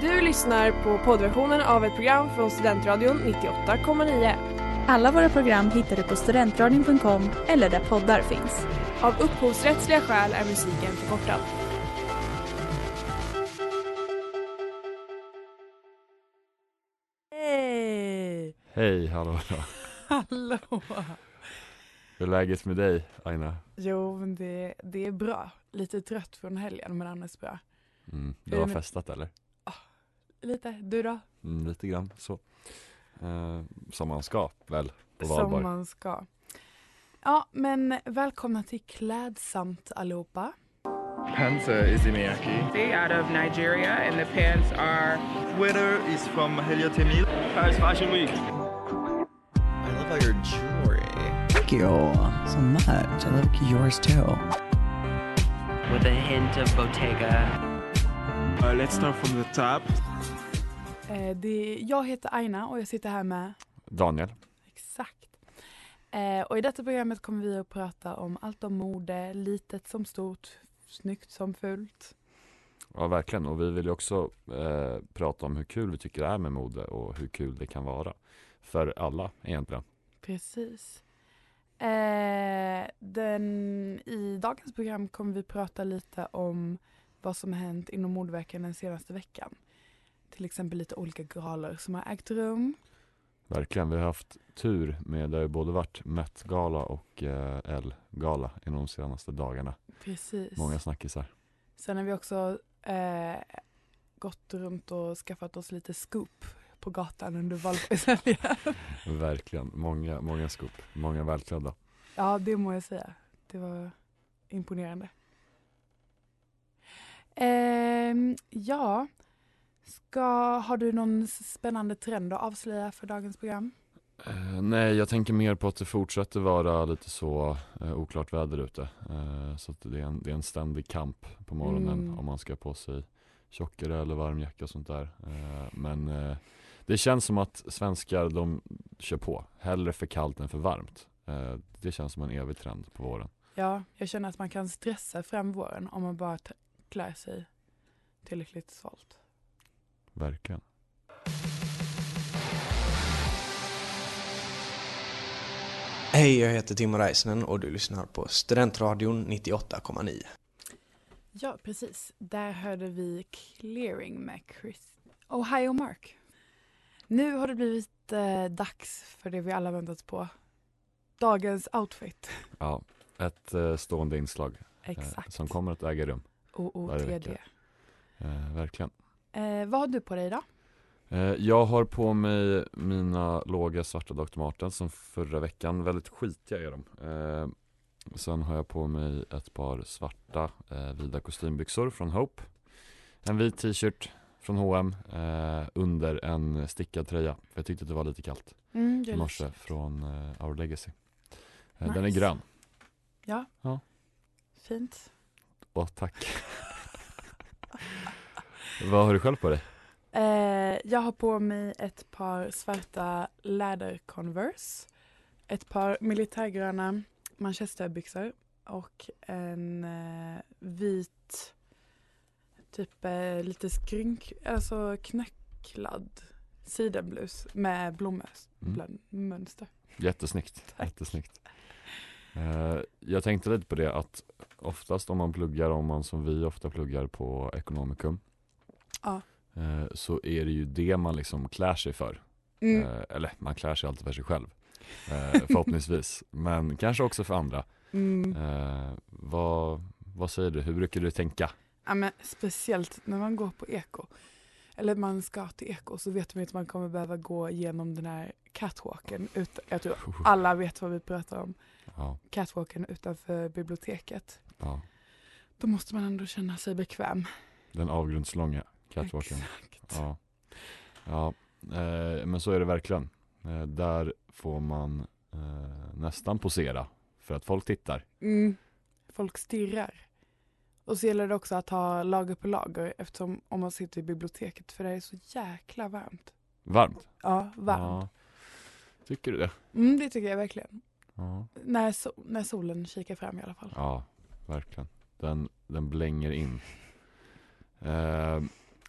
Du lyssnar på poddversionen av ett program från Studentradion 98,9. Alla våra program hittar du på studentradion.com eller där poddar finns. Av upphovsrättsliga skäl är musiken förkortad. Hej! Hej, hallå. Hallå! Hur är läget med dig, Aina? Jo, men det, det är bra. Lite trött från helgen, men annars bra. Mm, Hur du är har det med- festat eller? Lite. Du då? Mm, lite grann så. Eh, som man ska väl, på Som valbar. man ska. Ja, men välkomna till Klädsamt allihopa. Panzer is Imeaki. They out of Nigeria, and the pants are Twitter is from Helio Temil. Paris Fashion Week. I love all your jewelry. Thank you so much. I love yours too. with a hint of Bottega. Uh, let's start from the top. Eh, det, jag heter Aina och jag sitter här med Daniel, Exakt. Eh, och i detta programmet kommer vi att prata om allt om mode, litet som stort, snyggt som fult. ja verkligen. Och vi vill ju också eh, prata om hur kul vi tycker det är med mode och hur kul det kan vara. För alla egentligen. Precis. Eh, den, I dagens program kommer vi prata lite om vad som har hänt inom modeveckan den senaste veckan. Till exempel lite olika galor som har ägt rum. Verkligen, vi har haft tur med, det har ju både varit Met-gala och eh, L-gala inom de senaste dagarna. Precis. Många snackisar. Sen har vi också eh, gått runt och skaffat oss lite scoop på gatan under valborgshelgen. Verkligen, många, många skop, många välklädda. Ja, det må jag säga. Det var imponerande. Ehm, ja, Ska, har du någon s- spännande trend att avslöja för dagens program? Eh, nej, jag tänker mer på att det fortsätter vara lite så eh, oklart väder ute. Eh, så att det, är en, det är en ständig kamp på morgonen Mm. om man ska ha på sig tjockare eller varm jacka och sånt där. Eh, men eh, det känns som att svenskar de kör på. Hellre för kallt än för varmt. Eh, det känns som en evig trend på våren. Ja, jag känner att man kan stressa fram våren om man bara t- klär sig tillräckligt svalt. Verkligen. Hej, jag heter Timo Räisänen och du lyssnar på Studentradion 98,9. Ja, precis. Där hörde vi Clearing med Chris Ohio Mark. Nu har det blivit eh, dags för det vi alla väntat på. Dagens outfit. Ja, ett eh, stående inslag eh, Exakt. som kommer att äga rum. varje OOTD. vecka. Eh, verkligen. Eh, vad har du på dig idag? Eh, Jag har på mig mina låga svarta Dr. Martens som förra veckan, väldigt skitiga är de. Eh, Sen har jag på mig ett par svarta eh, vida kostymbyxor från Hope. En vit t-shirt från H&M eh, under en stickad tröja. För jag tyckte att det var lite kallt Mm, i morse från eh, Our Legacy. Eh, Den är Nice. grön. Ja. Ja. Fint. Åh tack. Vad har du själv på dig? Eh, jag har på mig ett par svarta läder Converse, ett par militärgröna manchesterbyxor och en eh, vit, typ eh, lite skrynk, alltså knöcklad sidenblus med Mm. blommönster. Jättesnyggt, jättesnyggt. Eh, jag tänkte lite på det att oftast om man pluggar, om man som vi ofta pluggar på Ekonomikum, Ja. eh, så är det ju det man liksom klär sig för. Mm. Eh, eller man klär sig alltid för sig själv, eh, förhoppningsvis. Men kanske också för andra. Mm. Eh, vad, vad säger du, hur brukar du tänka? Ja, men speciellt när man går på eko. Eller man ska till eko så vet man ju att man kommer behöva gå genom den här catwalken. Ut, jag tror alla vet vad vi pratar om. Ja, Catwalken utanför biblioteket. ja. Då måste man ändå känna sig bekväm. Den avgrundslånga catwalken. Exakt. Ja, ja eh, men så är det verkligen. Eh, där får man eh, nästan posera för att folk tittar. Mm. Folk stirrar. Och så gäller det också att ha lager på lager eftersom om man sitter i biblioteket för det är så jäkla varmt. Varmt. Ja, varmt. Ja. Tycker du det? Mm, det tycker jag verkligen. Ja, När, so- när solen kikar fram i alla fall. ja verkligen. Den, den blänger in. Eh,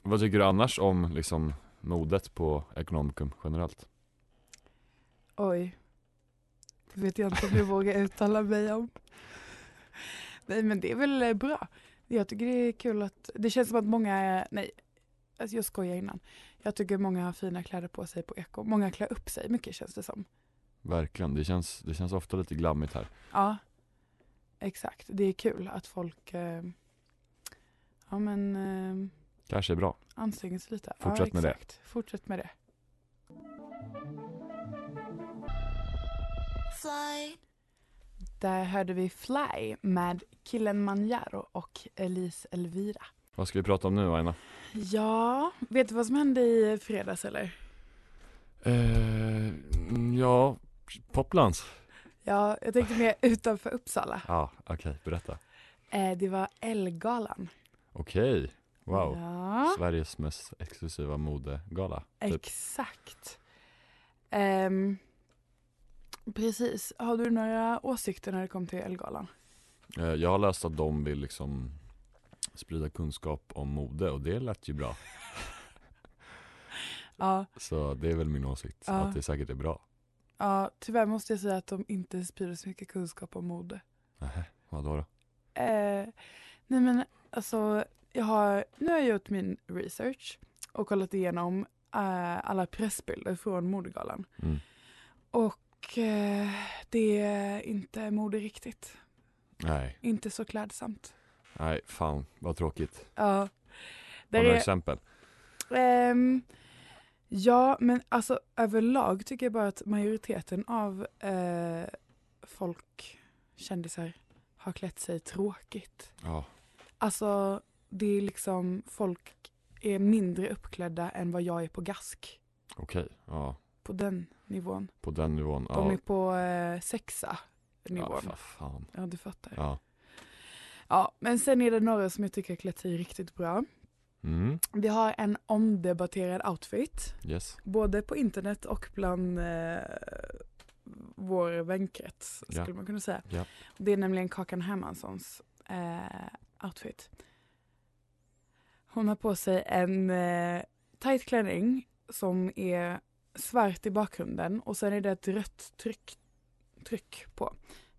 Vad tycker du annars om liksom modet på Economicum generellt? Oj. Det vet jag inte om jag vågar uttala mig om. Nej men det är väl eh, bra. Jag tycker det är kul att, det känns som att många, nej, alltså jag skojar innan. Jag tycker många har fina kläder på sig på eko. Många klär upp sig mycket känns det som. Verkligen, det känns, det känns ofta lite glammigt här. Ja, exakt. Det är kul att folk, eh, ja men eh, Kanske är bra. anstränger sig lite. Fortsätt ja, med det. exakt. Fortsätt med det. Där hörde vi Fly med Killen Manjaro och Elise Elvira. Vad ska vi prata om nu Aina? Ja, vet du vad som hände i fredags eller? Eh, ja, Poplands. Ja, jag tänkte mer utanför Uppsala. Ja, okej, berätta. Eh, det var Ellegalan. Okej, wow. Ja, Sveriges mest exklusiva modegala. Typ. exakt. Ehm, precis. Har du några åsikter när det kom till Ellegalan? Eh, Jag har läst att de vill liksom sprida kunskap om mode och det lät ju bra. Ja, Så det är väl min åsikt, Ja. att det säkert är bra. ja, tyvärr måste jag säga att de inte sprider så mycket kunskap om mode. Nähä, vadå då? Eh, nej men alltså, jag har, nu har jag gjort min research och kollat igenom eh, alla pressbilder från modegalan. Mm. Och eh, det är inte mode riktigt. Nej, Inte så klädsamt. nej, fan vad tråkigt. Ja. Har Där du några är, exempel? ehm, ja, men alltså överlag tycker jag bara att majoriteten av eh, folk, kändisar, har klätt sig tråkigt. Ja, Alltså det är liksom folk är mindre uppklädda än vad jag är på gask. okej. Ja, På den nivån. på den nivån. De Ja, är på eh, sexa ja nivån. Ja, fa- fan. du fattar. Ja. Ja. men sen är det några som jag tycker har klätt sig riktigt bra. Mm, Vi har en omdebatterad outfit. yes. Både på internet och bland eh, vår vänkrets Ja. skulle man kunna säga. Ja. Det är nämligen Kakan Hermanssons eh, outfit. Hon har på sig en eh, tight klänning som är svart i bakgrunden och sen är det ett rött tryck, tryck på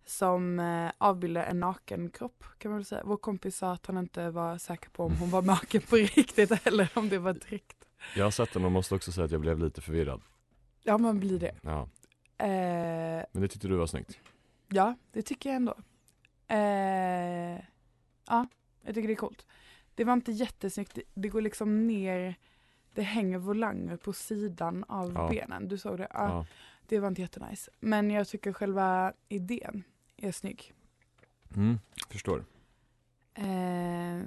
som eh, avbildar en naken kropp kan man väl säga. Vår kompis sa att han inte var säker på om hon var naken på riktigt eller om det var ett tryck. Jag har sett den och måste också säga att jag blev lite förvirrad. Ja man blir det. Ja, Eh, men det tyckte du var snyggt. ja, det tycker jag ändå. Eh, ja, jag tycker det är coolt. Det var inte jättesnyggt, Det- det går liksom ner, det hänger volanger på sidan av Ja. benen. Du såg det? Ja, Ja. Det var inte jättenice. Men jag tycker själva idén är snygg. Mm, förstår. Eh,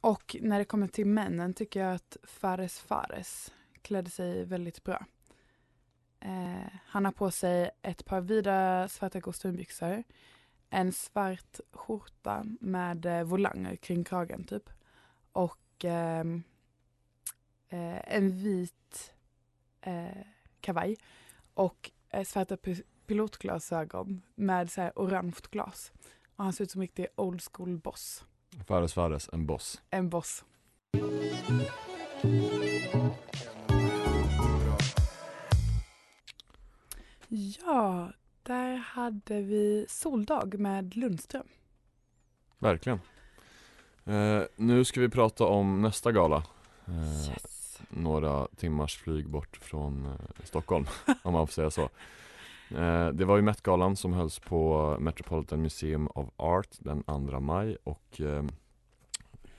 och när det kommer till männen tycker jag att Fares Fares klädde sig väldigt bra. Eh, han har på sig ett par vida svarta kostymbyxor, en svart skjorta med eh, volanger kring kragen typ och ehm, eh, en vit eh, kavaj och eh, svarta pi- pilotglasögon med så här orange glas. Och han ser ut som en riktig old school boss Fares Fares, en boss. en boss. Ja, där hade vi Soldag med Lundström. Verkligen. Eh, nu ska vi prata om nästa gala. Eh, Yes. Några timmars flyg bort från eh, Stockholm, om man får säga så. Eh, det var ju Met-galan som hölls på Metropolitan Museum of Art den 2 maj och eh,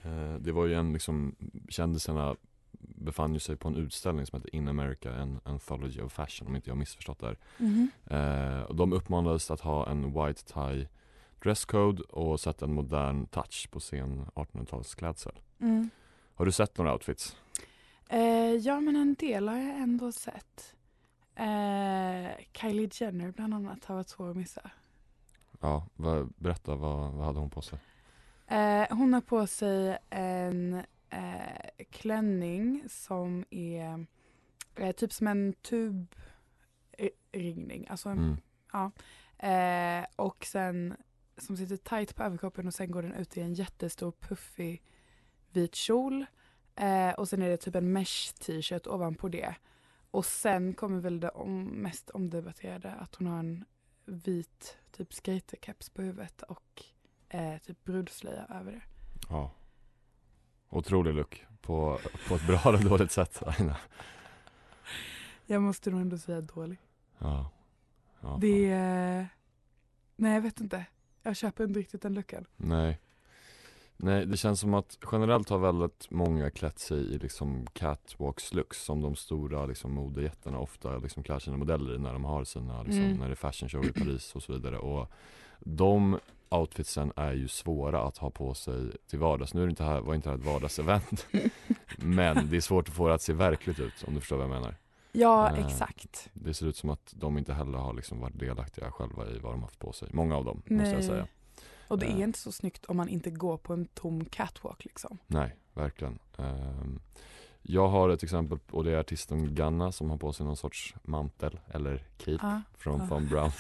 eh, det var ju en liksom, kändisarna befann ju sig på en utställning som heter In America, en anthology of fashion om inte jag har missförstått det här. Mhm, Eh, och de uppmanades att ha en white tie dresscode och sätta en modern touch på sin 1800-talsklädsel. Mm. Har du sett några outfits? Eh, ja, men en del har jag ändå sett. Eh, Kylie Jenner bland annat har varit svår att missa. Ja, vad- berätta vad, vad hade hon på sig? Eh, hon har på sig en eh, klänning som är eh, typ som en tubringning. Alltså en, Mm. eh, och sen som sitter tight på överkroppen och sen går den ut i en jättestor puffig vit kjol. Eh, och sen är det typ en mesh t-shirt ovanpå det. Och sen kommer väl det om, mest omdebatterade att hon har en vit typ skaterkeps på huvudet och eh, typ brudslöja över det. Ja. Otrolig look på, på ett bra eller dåligt sätt Aina. Jag måste nog ändå säga dålig. Ja. ja Det är... Nej jag vet inte. Jag köper inte riktigt den luckan. Nej. Nej, det känns som att generellt har väldigt många klätt sig i liksom catwalks looks som de stora liksom modejättarna ofta liksom klär sina modeller i när de har sina liksom, Mm. när det är fashion show i Paris och så vidare och de outfitsen är ju svåra att ha på sig till vardags. Nu är det inte här, var inte det här ett vardagsevent men det är svårt att få det att se verkligt ut om du förstår vad jag menar. Ja Nej. exakt. Det ser ut som att de inte heller har liksom varit delaktiga själva i vad de haft på sig. Många av dem måste jag Nej. säga. Och det Eh. är inte så snyggt om man inte går på en tom catwalk liksom. Nej, verkligen. Ehm, jag har ett exempel och det är artisten Ganna som har på sig någon sorts mantel eller cape Ja. från ja. Von Brown.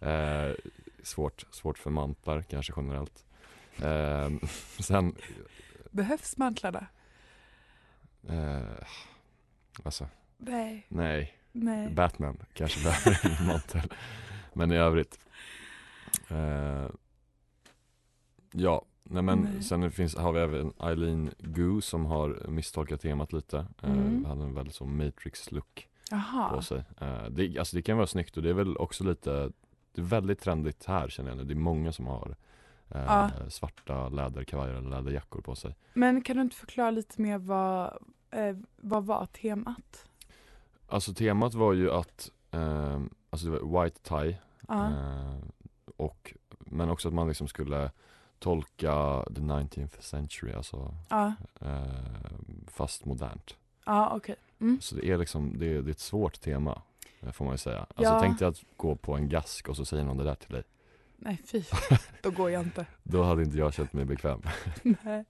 Ehm, svårt, svårt för mantlar kanske generellt. Ehm, sen, Behövs mantlarna? eh, alltså Nej. nej, Nej. Batman kanske behöver en mantel. Men i övrigt. Eh, ja, nej men Nej. sen finns, har vi även Eileen Gu som har misstolkat temat lite. Eh, Mm. Hade en väldigt så matrix-look på Jaha. sig. Eh, det, alltså det kan vara snyggt och det är väl också lite, det är väldigt trendigt här känner jag nu. Det är många som har eh, Ja. svarta läderkavajer eller läderjackor på sig. Men kan du inte förklara lite mer vad, eh, vad var temat? Alltså temat var ju att, eh, alltså det var white tie Ja. Eh, och, men också att man liksom skulle tolka the 19th century, alltså Ja. eh, fast modernt. Ja okej. Mm. Så det är liksom, det är, det är ett svårt tema eh, får man ju säga. Alltså Ja. tänk dig att gå på en gask och så säger någon det där till dig. Nej fy. Då går jag inte. Då hade inte jag känt mig bekväm. Nej.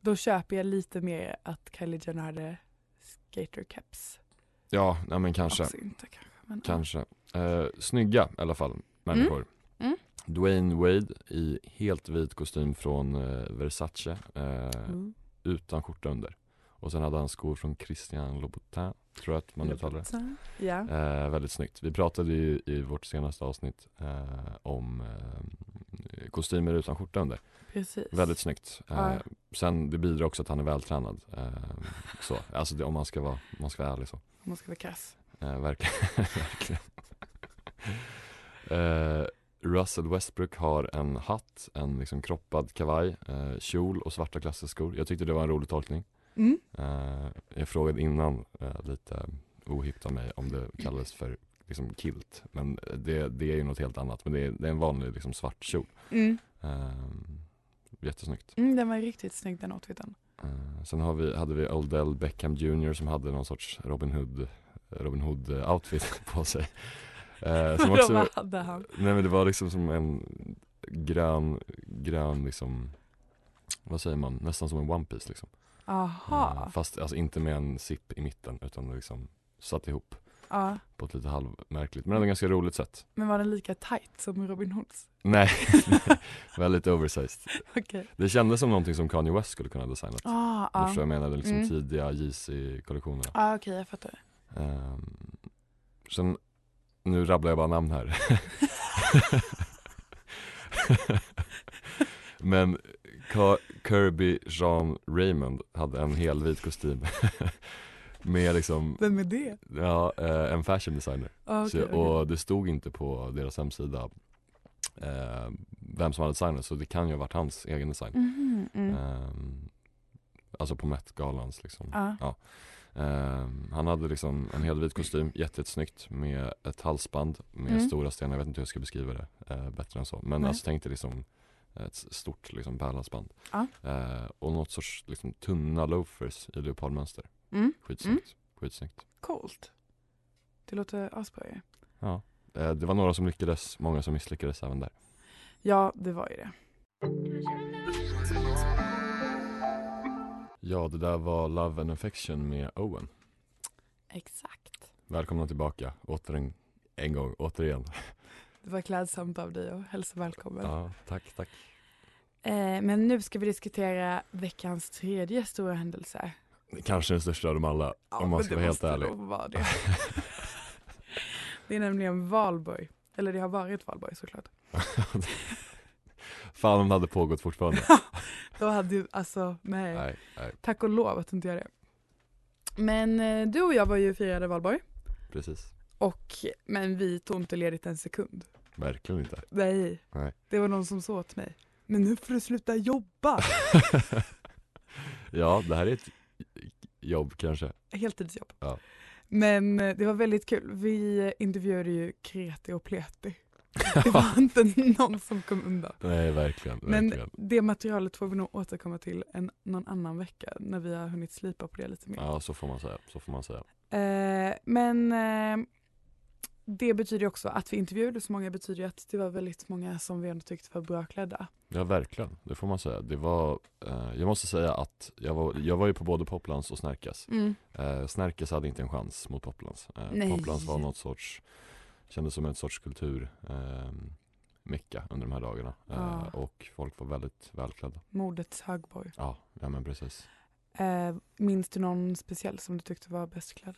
Då köper jag lite mer att Kylie Jenner hade skatercaps. Ja, nej men kanske, Också inte kanske. Men, kanske. Eh, snygga i alla fall, människor. Mm. Dwayne Wade i helt vit kostym från eh, Versace. Eh, Mm. utan skjorta under. Och sen hade han skor från Christian Louboutin, tror jag att man uttalar det. Ja. Eh, väldigt snyggt. Vi pratade ju i vårt senaste avsnitt eh, om eh, kostymer utan skjorta under. Precis. Väldigt snyggt. Eh, Ja. Sen det bidrar också att han är vältränad. Eh, så. Alltså det, om man ska vara, om man ska vara ärlig så. Om man ska vara kass. Eh, verkligen. verkligen. Eh, Russell Westbrook har en hatt, en liksom kroppad kavaj, eh, kjol och svarta klassskor. Jag tyckte det var en rolig tolkning. Mm. Eh, jag frågade innan eh, lite ohippt av mig om det kallades för liksom kilt. Men det, det är ju något helt annat. Men det är, det är en vanlig liksom svart kjol. Mm. Eh, jättesnyggt. Mm, den var riktigt snygg den outfiten. Eh, sen har vi, hade vi Odell Beckham Jr som hade någon sorts Robin Hood, Robin Hood eh, outfit på sig. Eh, som Vadå, också, vad hade han? nej men det var liksom som en grön, grön liksom, vad säger man, nästan som en One Piece liksom. Eh, Aha. fast alltså inte med en sipp i mitten utan liksom satt ihop Ja. på ett lite halvmärkligt men ändå ganska roligt sätt. Men var den lika tight som Robin Hoods? Nej, väldigt oversized. Okej. Det kändes som någonting som Kanye West skulle kunna ha designat. Ah, Ah. ah. Jag menade liksom Mm. tidiga JC-kollektionerna. ah, okej jag fattar. Ehm, sen, nu rabblar jag bara namn här. Men Ka- Kirby Jean Raymond hade en helvit kostym med liksom, Vem är det? ja, eh, en fashion designer. Ah, okej, så, okej. Och det stod inte på deras hemsida eh, vem som hade designat så det kan ju ha varit hans egen design. Mhm, mm. Ehm, alltså på Met-galans liksom. Ah. Ehm, han hade liksom en helvit kostym, jätte- jättesnyggt med ett halsband med Mm. stora stenar, jag vet inte hur jag ska beskriva det eh, bättre än så. Men Nej. alltså tänk dig liksom ett stort liksom pärlhalsband. Ja. Eh, och något sorts liksom tunna loafers i leopardmönster. Mm. Skitsnyggt, skitsnyggt. Coolt. Det låter asbra ju. Eh, det var några som lyckades, många som misslyckades även där. Ja det var ju det. Ja, det där var Love and Affection med Owen. Exakt. Välkomna tillbaka, åter en, en gång, återigen. Det var klädsamt av dig och hälsa välkommen. Ja, tack, tack. Eh, men nu ska vi diskutera veckans tredje stora händelse. Kanske den största av dem alla, om man men ska det vara helt måste ärlig. nog vara det. det är nämligen valborg. Eller det har varit valborg såklart. Fan om det hade pågått fortfarande. Då hade ju, alltså, nej. nej, nej, Tack och lov att inte göra det. Men eh, du och jag var ju och firade valborg. precis. Och, men vi tog inte ledigt en sekund. Verkligen inte. Nej. Nej. Det var någon som sa åt mig. Men nu får du sluta jobba. ja, det här är ett jobb kanske. Heltidsjobb. Ja. Men eh, det var väldigt kul. Vi intervjuade ju Kreti och Pleti. Det var inte någon som kom undan. Nej, verkligen. Men verkligen. det materialet får vi nog återkomma till en, någon annan vecka när vi har hunnit slipa på det lite mer. Ja, så får man säga. Så får man säga. Eh, men eh, det betyder ju också att vi intervjuade så många betyder ju att det var väldigt många som vi ändå tyckte var bra klädda. Ja, verkligen. Det får man säga. Det var, eh, jag måste säga att jag var, jag var ju på både Poplands och Snärkas. Eh, Snärkes hade inte en chans mot Poplands. Eh, Nej. Poplands var något sorts, kändes som ett sorts kultur eh, mecka under de här dagarna. Eh, Ja. och folk var väldigt välklädda. Modets högborg. Ja, ja men precis. Eh, minns du någon speciell som du tyckte var bäst klädd?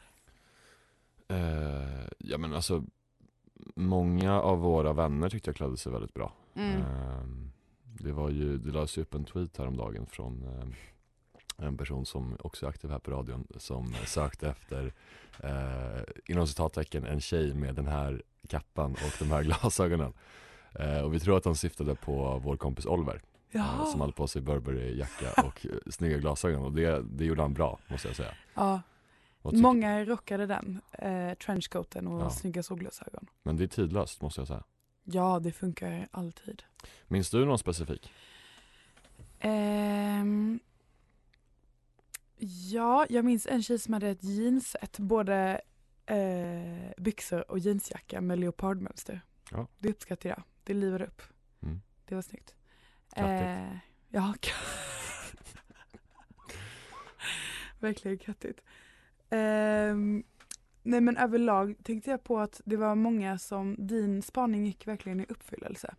Eh, ja men alltså, många av våra vänner tyckte jag klädde sig väldigt bra. Mm. Ehm, Det var ju, det lades ju upp en tweet häromdagen från ehm, en person som också är aktiv här på radion som sökte efter, eh, inom citattecken, en tjej med den här kappan och de här glasögonen. Eh, och vi tror att han syftade på vår kompis Oliver eh, som hade på sig Burberry-jacka och eh, snygga glasögon och det, det gjorde han bra måste jag säga. ja. Och tyck- Många rockade den, eh, trenchcoaten och Ja. snygga solglasögon. Men det är tidlöst måste jag säga. Ja, det funkar alltid. Minns du någon specifik? Ehm, ja, jag minns en tjej som hade ett jeanset, både eh, byxor och jeansjacka med leopardmönster. Ja. Det uppskattar jag. Det livade upp. Mm. Det var snyggt. Kattigt. Eh, ja, ka- verkligen kattigt. Ehm, nej men överlag tänkte jag på att det var många som, din spaning gick verkligen i uppfyllelse.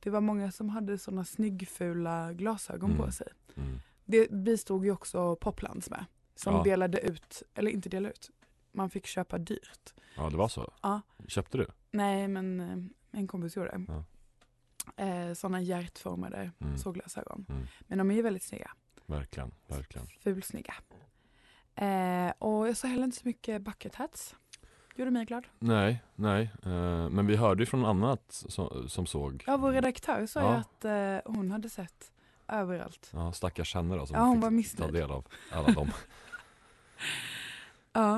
Det var många som hade sådana snyggfula glasögon Mm. på sig. Mm. Det bistod ju också Poplands med. Som Ja. delade ut, eller inte delade ut, man fick köpa dyrt. Ja det var så. Ja. Köpte du? Nej men eh, en kompis gjorde det. Ja. Eh, sådana hjärtformade Mm. solglasögon. Mm. Men de är ju väldigt snygga. Verkligen, verkligen. Fulsnygga. Eh, och jag sa heller inte så mycket bucket hats. Gjorde mig glad. Nej, nej. Eh, men vi hörde ju från annat som, som såg. Ja, vår redaktör sa Ja. ju att eh, hon hade sett överallt. Ja, stackars henne då som Ja, hon fick var missnöjd. ta del av alla dem. Ja.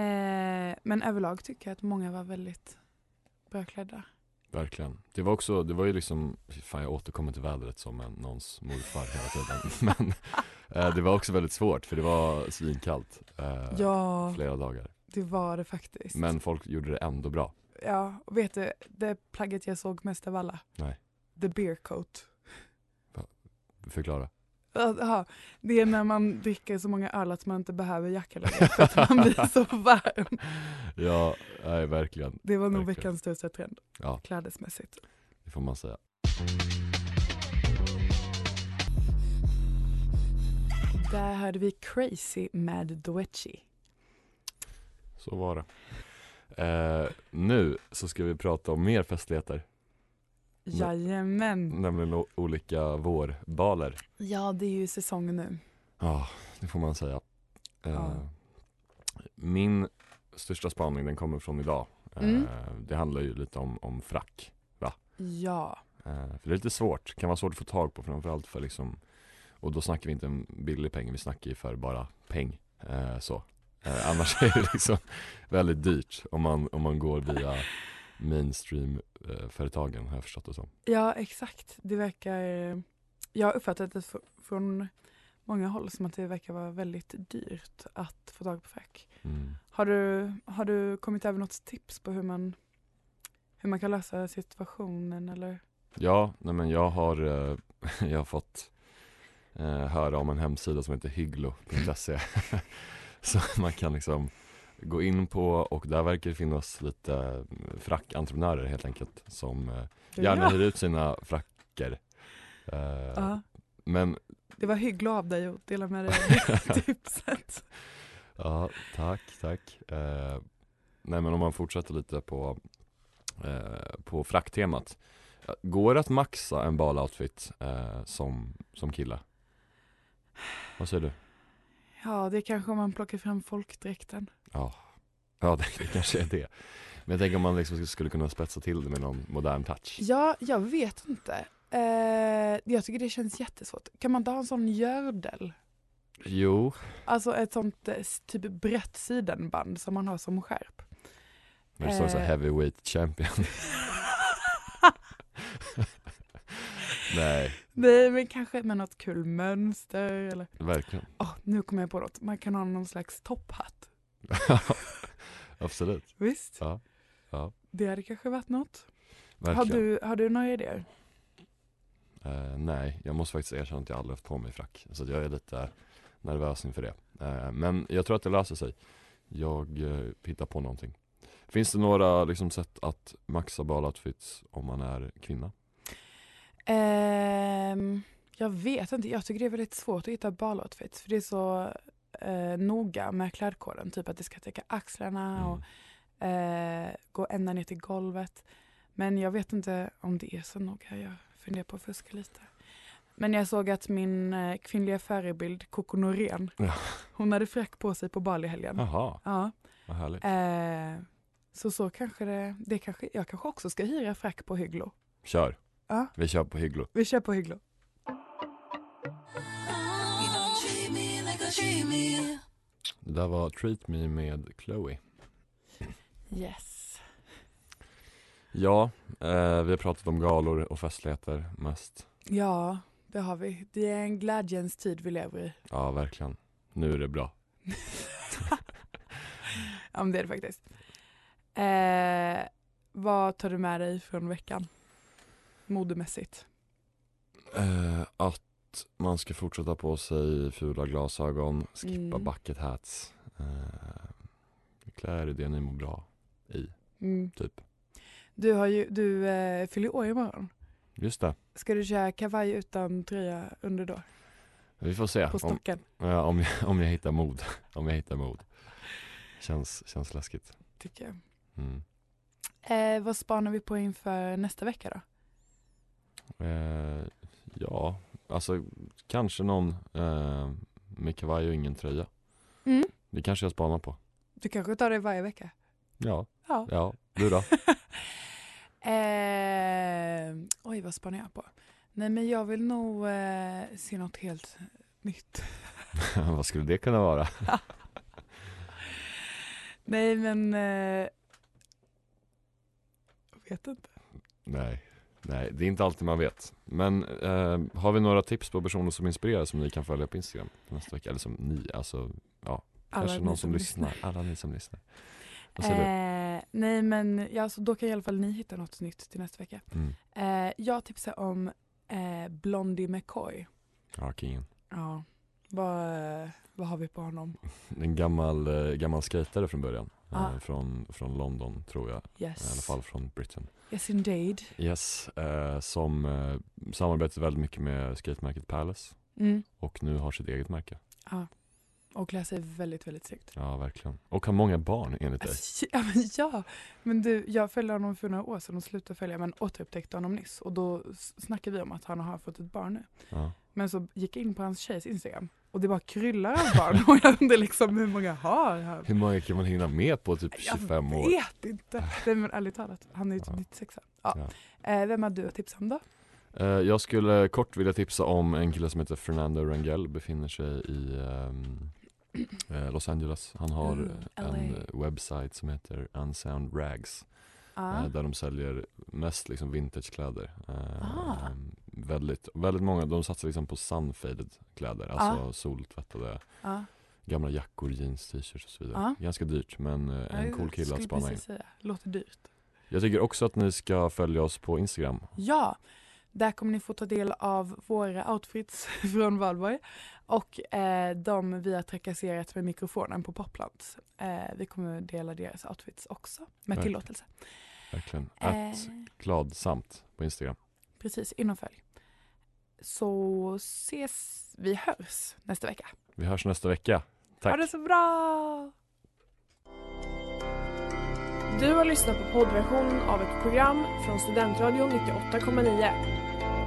Eh, men överlag tycker jag att många var väldigt bra Verkligen. Det var också, det var ju liksom, fy fan jag återkommer till vädret som en, någons morfar hela tiden. Men eh, det var också väldigt svårt för det var svinkallt eh, Ja, flera dagar. det var det faktiskt. Men folk gjorde det ändå bra. Ja, och vet du, det plagget jag såg mest av alla? Nej. The beer coat. Förklara. Aha, det är när man dricker så många öl att man inte behöver jacka längre för att man blir så varm. Ja, nej verkligen. Det var nog Verkligen. veckans största trend, Ja. klädesmässigt. Det får man säga. Där hörde vi Crazy med Doechi. Så var det. Eh, nu så ska vi prata om mer festligheter. Jajamän. Nämligen o- olika vårbaler. Ja, det är ju säsong nu. Ja, det får man säga. Eh, Ja. Min största spaning den kommer från idag. Mm. Eh, det handlar ju lite om, om frack. Ja. Eh, för det är lite svårt, kan vara svårt att få tag på framförallt för liksom och då snackar vi inte en billig peng, vi snackar ju för bara peng. Eh, så. Eh, annars är det liksom väldigt dyrt om man, om man går via mainstream-företagen har jag förstått det som. Ja, exakt. Det verkar... Jag har uppfattat det fr- från många håll som att det verkar vara väldigt dyrt att få tag på frack. Mm. Har du, har du kommit över något tips på hur man, hur man kan lösa situationen eller? Ja, nej men jag har, eh, jag har fått eh, höra om en hemsida som heter hygglo.se Så man kan liksom gå in på och där verkar det finnas lite eh, frackentreprenörer helt enkelt som eh, gärna hyr ut sina fracker Eh, Ja. Men, Det var hyggligt av dig att dela med dig av det tipset. ja, tack, tack. Eh, nej men om man fortsätter lite på, eh, på fracktemat. Eh, Går det att maxa en baloutfit eh, som, som kille? Vad säger du? Ja, det är kanske om man plockar fram folkdräkten. Ja, det, det kanske är det. Men jag tänker om man liksom skulle kunna spetsa till det med någon modern touch. Ja, jag vet inte. Eh, jag tycker det känns jättesvårt. Kan man inte ha en sån gördel? Jo, Alltså ett sånt eh, s- typ brett sidenband som man har som skärp. men det står så här Eh. heavyweight champion. Nej, Nej, men kanske med något kul mönster eller... verkligen. Åh, nu kommer jag på något. Man kan ha någon slags topphatt. Absolut. Visst? Ja, ja. Det hade kanske varit något. Verkligen. Har du, har du några idéer? Eh, nej, jag måste faktiskt erkänna att jag aldrig haft på mig frack. Så att jag är lite nervös inför det. Eh, men jag tror att det löser sig. Jag eh, hittar på någonting. Finns det några liksom, sätt att maxa baloutfits om man är kvinna? Ehm, jag vet inte. Jag tycker det är väldigt svårt att hitta baloutfits för det är så eh, noga med klädkoden. Typ att det ska täcka axlarna Mm. och eh, gå ända ner till golvet. Men jag vet inte om det är så noga. Jag funderar på att fuska lite. Men jag såg att min eh, kvinnliga förebild Coco Norén, Ja. hon hade frack på sig på Bali i helgen. Jaha, Ja. vad härligt. Eh, så så kanske det, det kanske, jag kanske också ska hyra frack på Hygglo. Kör. Ja. Vi kör på Hygglo. Vi kör på Hygglo. Det där var Treat Me med Chloe. Yes. Ja, eh, vi har pratat om galor och festligheter mest. Ja, det har vi. Det är en glädjens tid vi lever i. Ja, verkligen. Nu är det bra. Ja, men det är det faktiskt. Eh, vad tar du med dig från veckan? Modemässigt. Eh, att man ska fortsätta på sig fula glasögon, skippa Mm. bucket hats. Eh, klä er i det ni mår bra i, Mm. typ. Du, har ju, du eh, fyller år imorgon. Just det. Ska du köra kavaj utan tröja under då? Vi får se På om, stocken? ja, om, jag, om jag hittar mod. Om jag hittar mod. Känns, känns läskigt. Tycker jag. Mm. Eh, vad spanar vi på inför nästa vecka då? Eh, ja, alltså kanske någon eh, med kavaj och ingen tröja. Mm. Det kanske jag spanar på. Du kanske tar det varje vecka? Ja, Ja. ja. Du då? Eh, oj, vad spanar jag på? Nej, men jag vill nog eh, se något helt nytt. Vad skulle det kunna vara? Nej, men... Eh, jag vet inte. Nej, nej, det är inte alltid man vet. Men eh, har vi några tips på personer som inspirerar som ni kan följa på Instagram nästa vecka? Eller som ni, alltså kanske ni någon som lyssnar. Alla ni som lyssnar. Vad säger Eh, nej, men ja, så då kan i alla fall ni hitta något nytt till nästa vecka. du? Mm. Eh, jag tipsar om eh, Blondie McCoy. Ja, kingen. Ja, vad, eh, vad har vi på honom? En gammal, eh, gammal skatare från början. Eh, Ah. från, från London tror jag. I alla Yes, fall från Britain. yes indeed. Yes, eh, som eh, samarbetar väldigt mycket med skatemärket Palace. Mm. Och nu har sitt eget märke. Och klär sig väldigt, väldigt snyggt. Ja, verkligen. Och har många barn enligt dig. Alltså, ja, men ja, men du, jag följde honom för några år sedan och slutade följa men återupptäckte honom nyss och då s- snackade vi om att han har fått ett barn nu. Ja. Men så gick jag in på hans tjejs Instagram och det bara kryllar av barn och jag undrar liksom hur många har han? Hur många kan man hinna med på typ Jag 25 Typ år? Äh. vet inte. Nej men ärligt talat, han är ju Ja. typ 96. Ja. Eh, vem har du att tipsa om då? Eh, Jag skulle kort vilja tipsa om en kille som heter Fernando Rangel, befinner sig i ehm, eh, Los Angeles. Han har Mm, en LA. webbsite som heter Unsound Rags, Ah. eh, där de säljer mest liksom vintagekläder. Eh, Ah. Väldigt, väldigt många, de satsar liksom på sunfaded kläder, Ah. alltså soltvättade Ja. gamla jackor, jeans, t-shirts och så vidare. Ah. Ganska dyrt men eh, en cool kille att Skulle spana in. precis säga. Låter dyrt. Jag tycker också att ni ska följa oss på Instagram. Ja, där kommer ni få ta del av våra outfits från Valborg och eh, de vi har trakasserat med mikrofonen på Poplands. Eh, vi kommer dela deras outfits också med Verkligen. tillåtelse. Verkligen. Eh, Att gladsamt på Instagram. precis, in och följ. Så ses vi hörs nästa vecka. Vi hörs nästa vecka. Tack. Ha det så bra! Du har lyssnat på poddversion av ett program från Studentradion 98,9.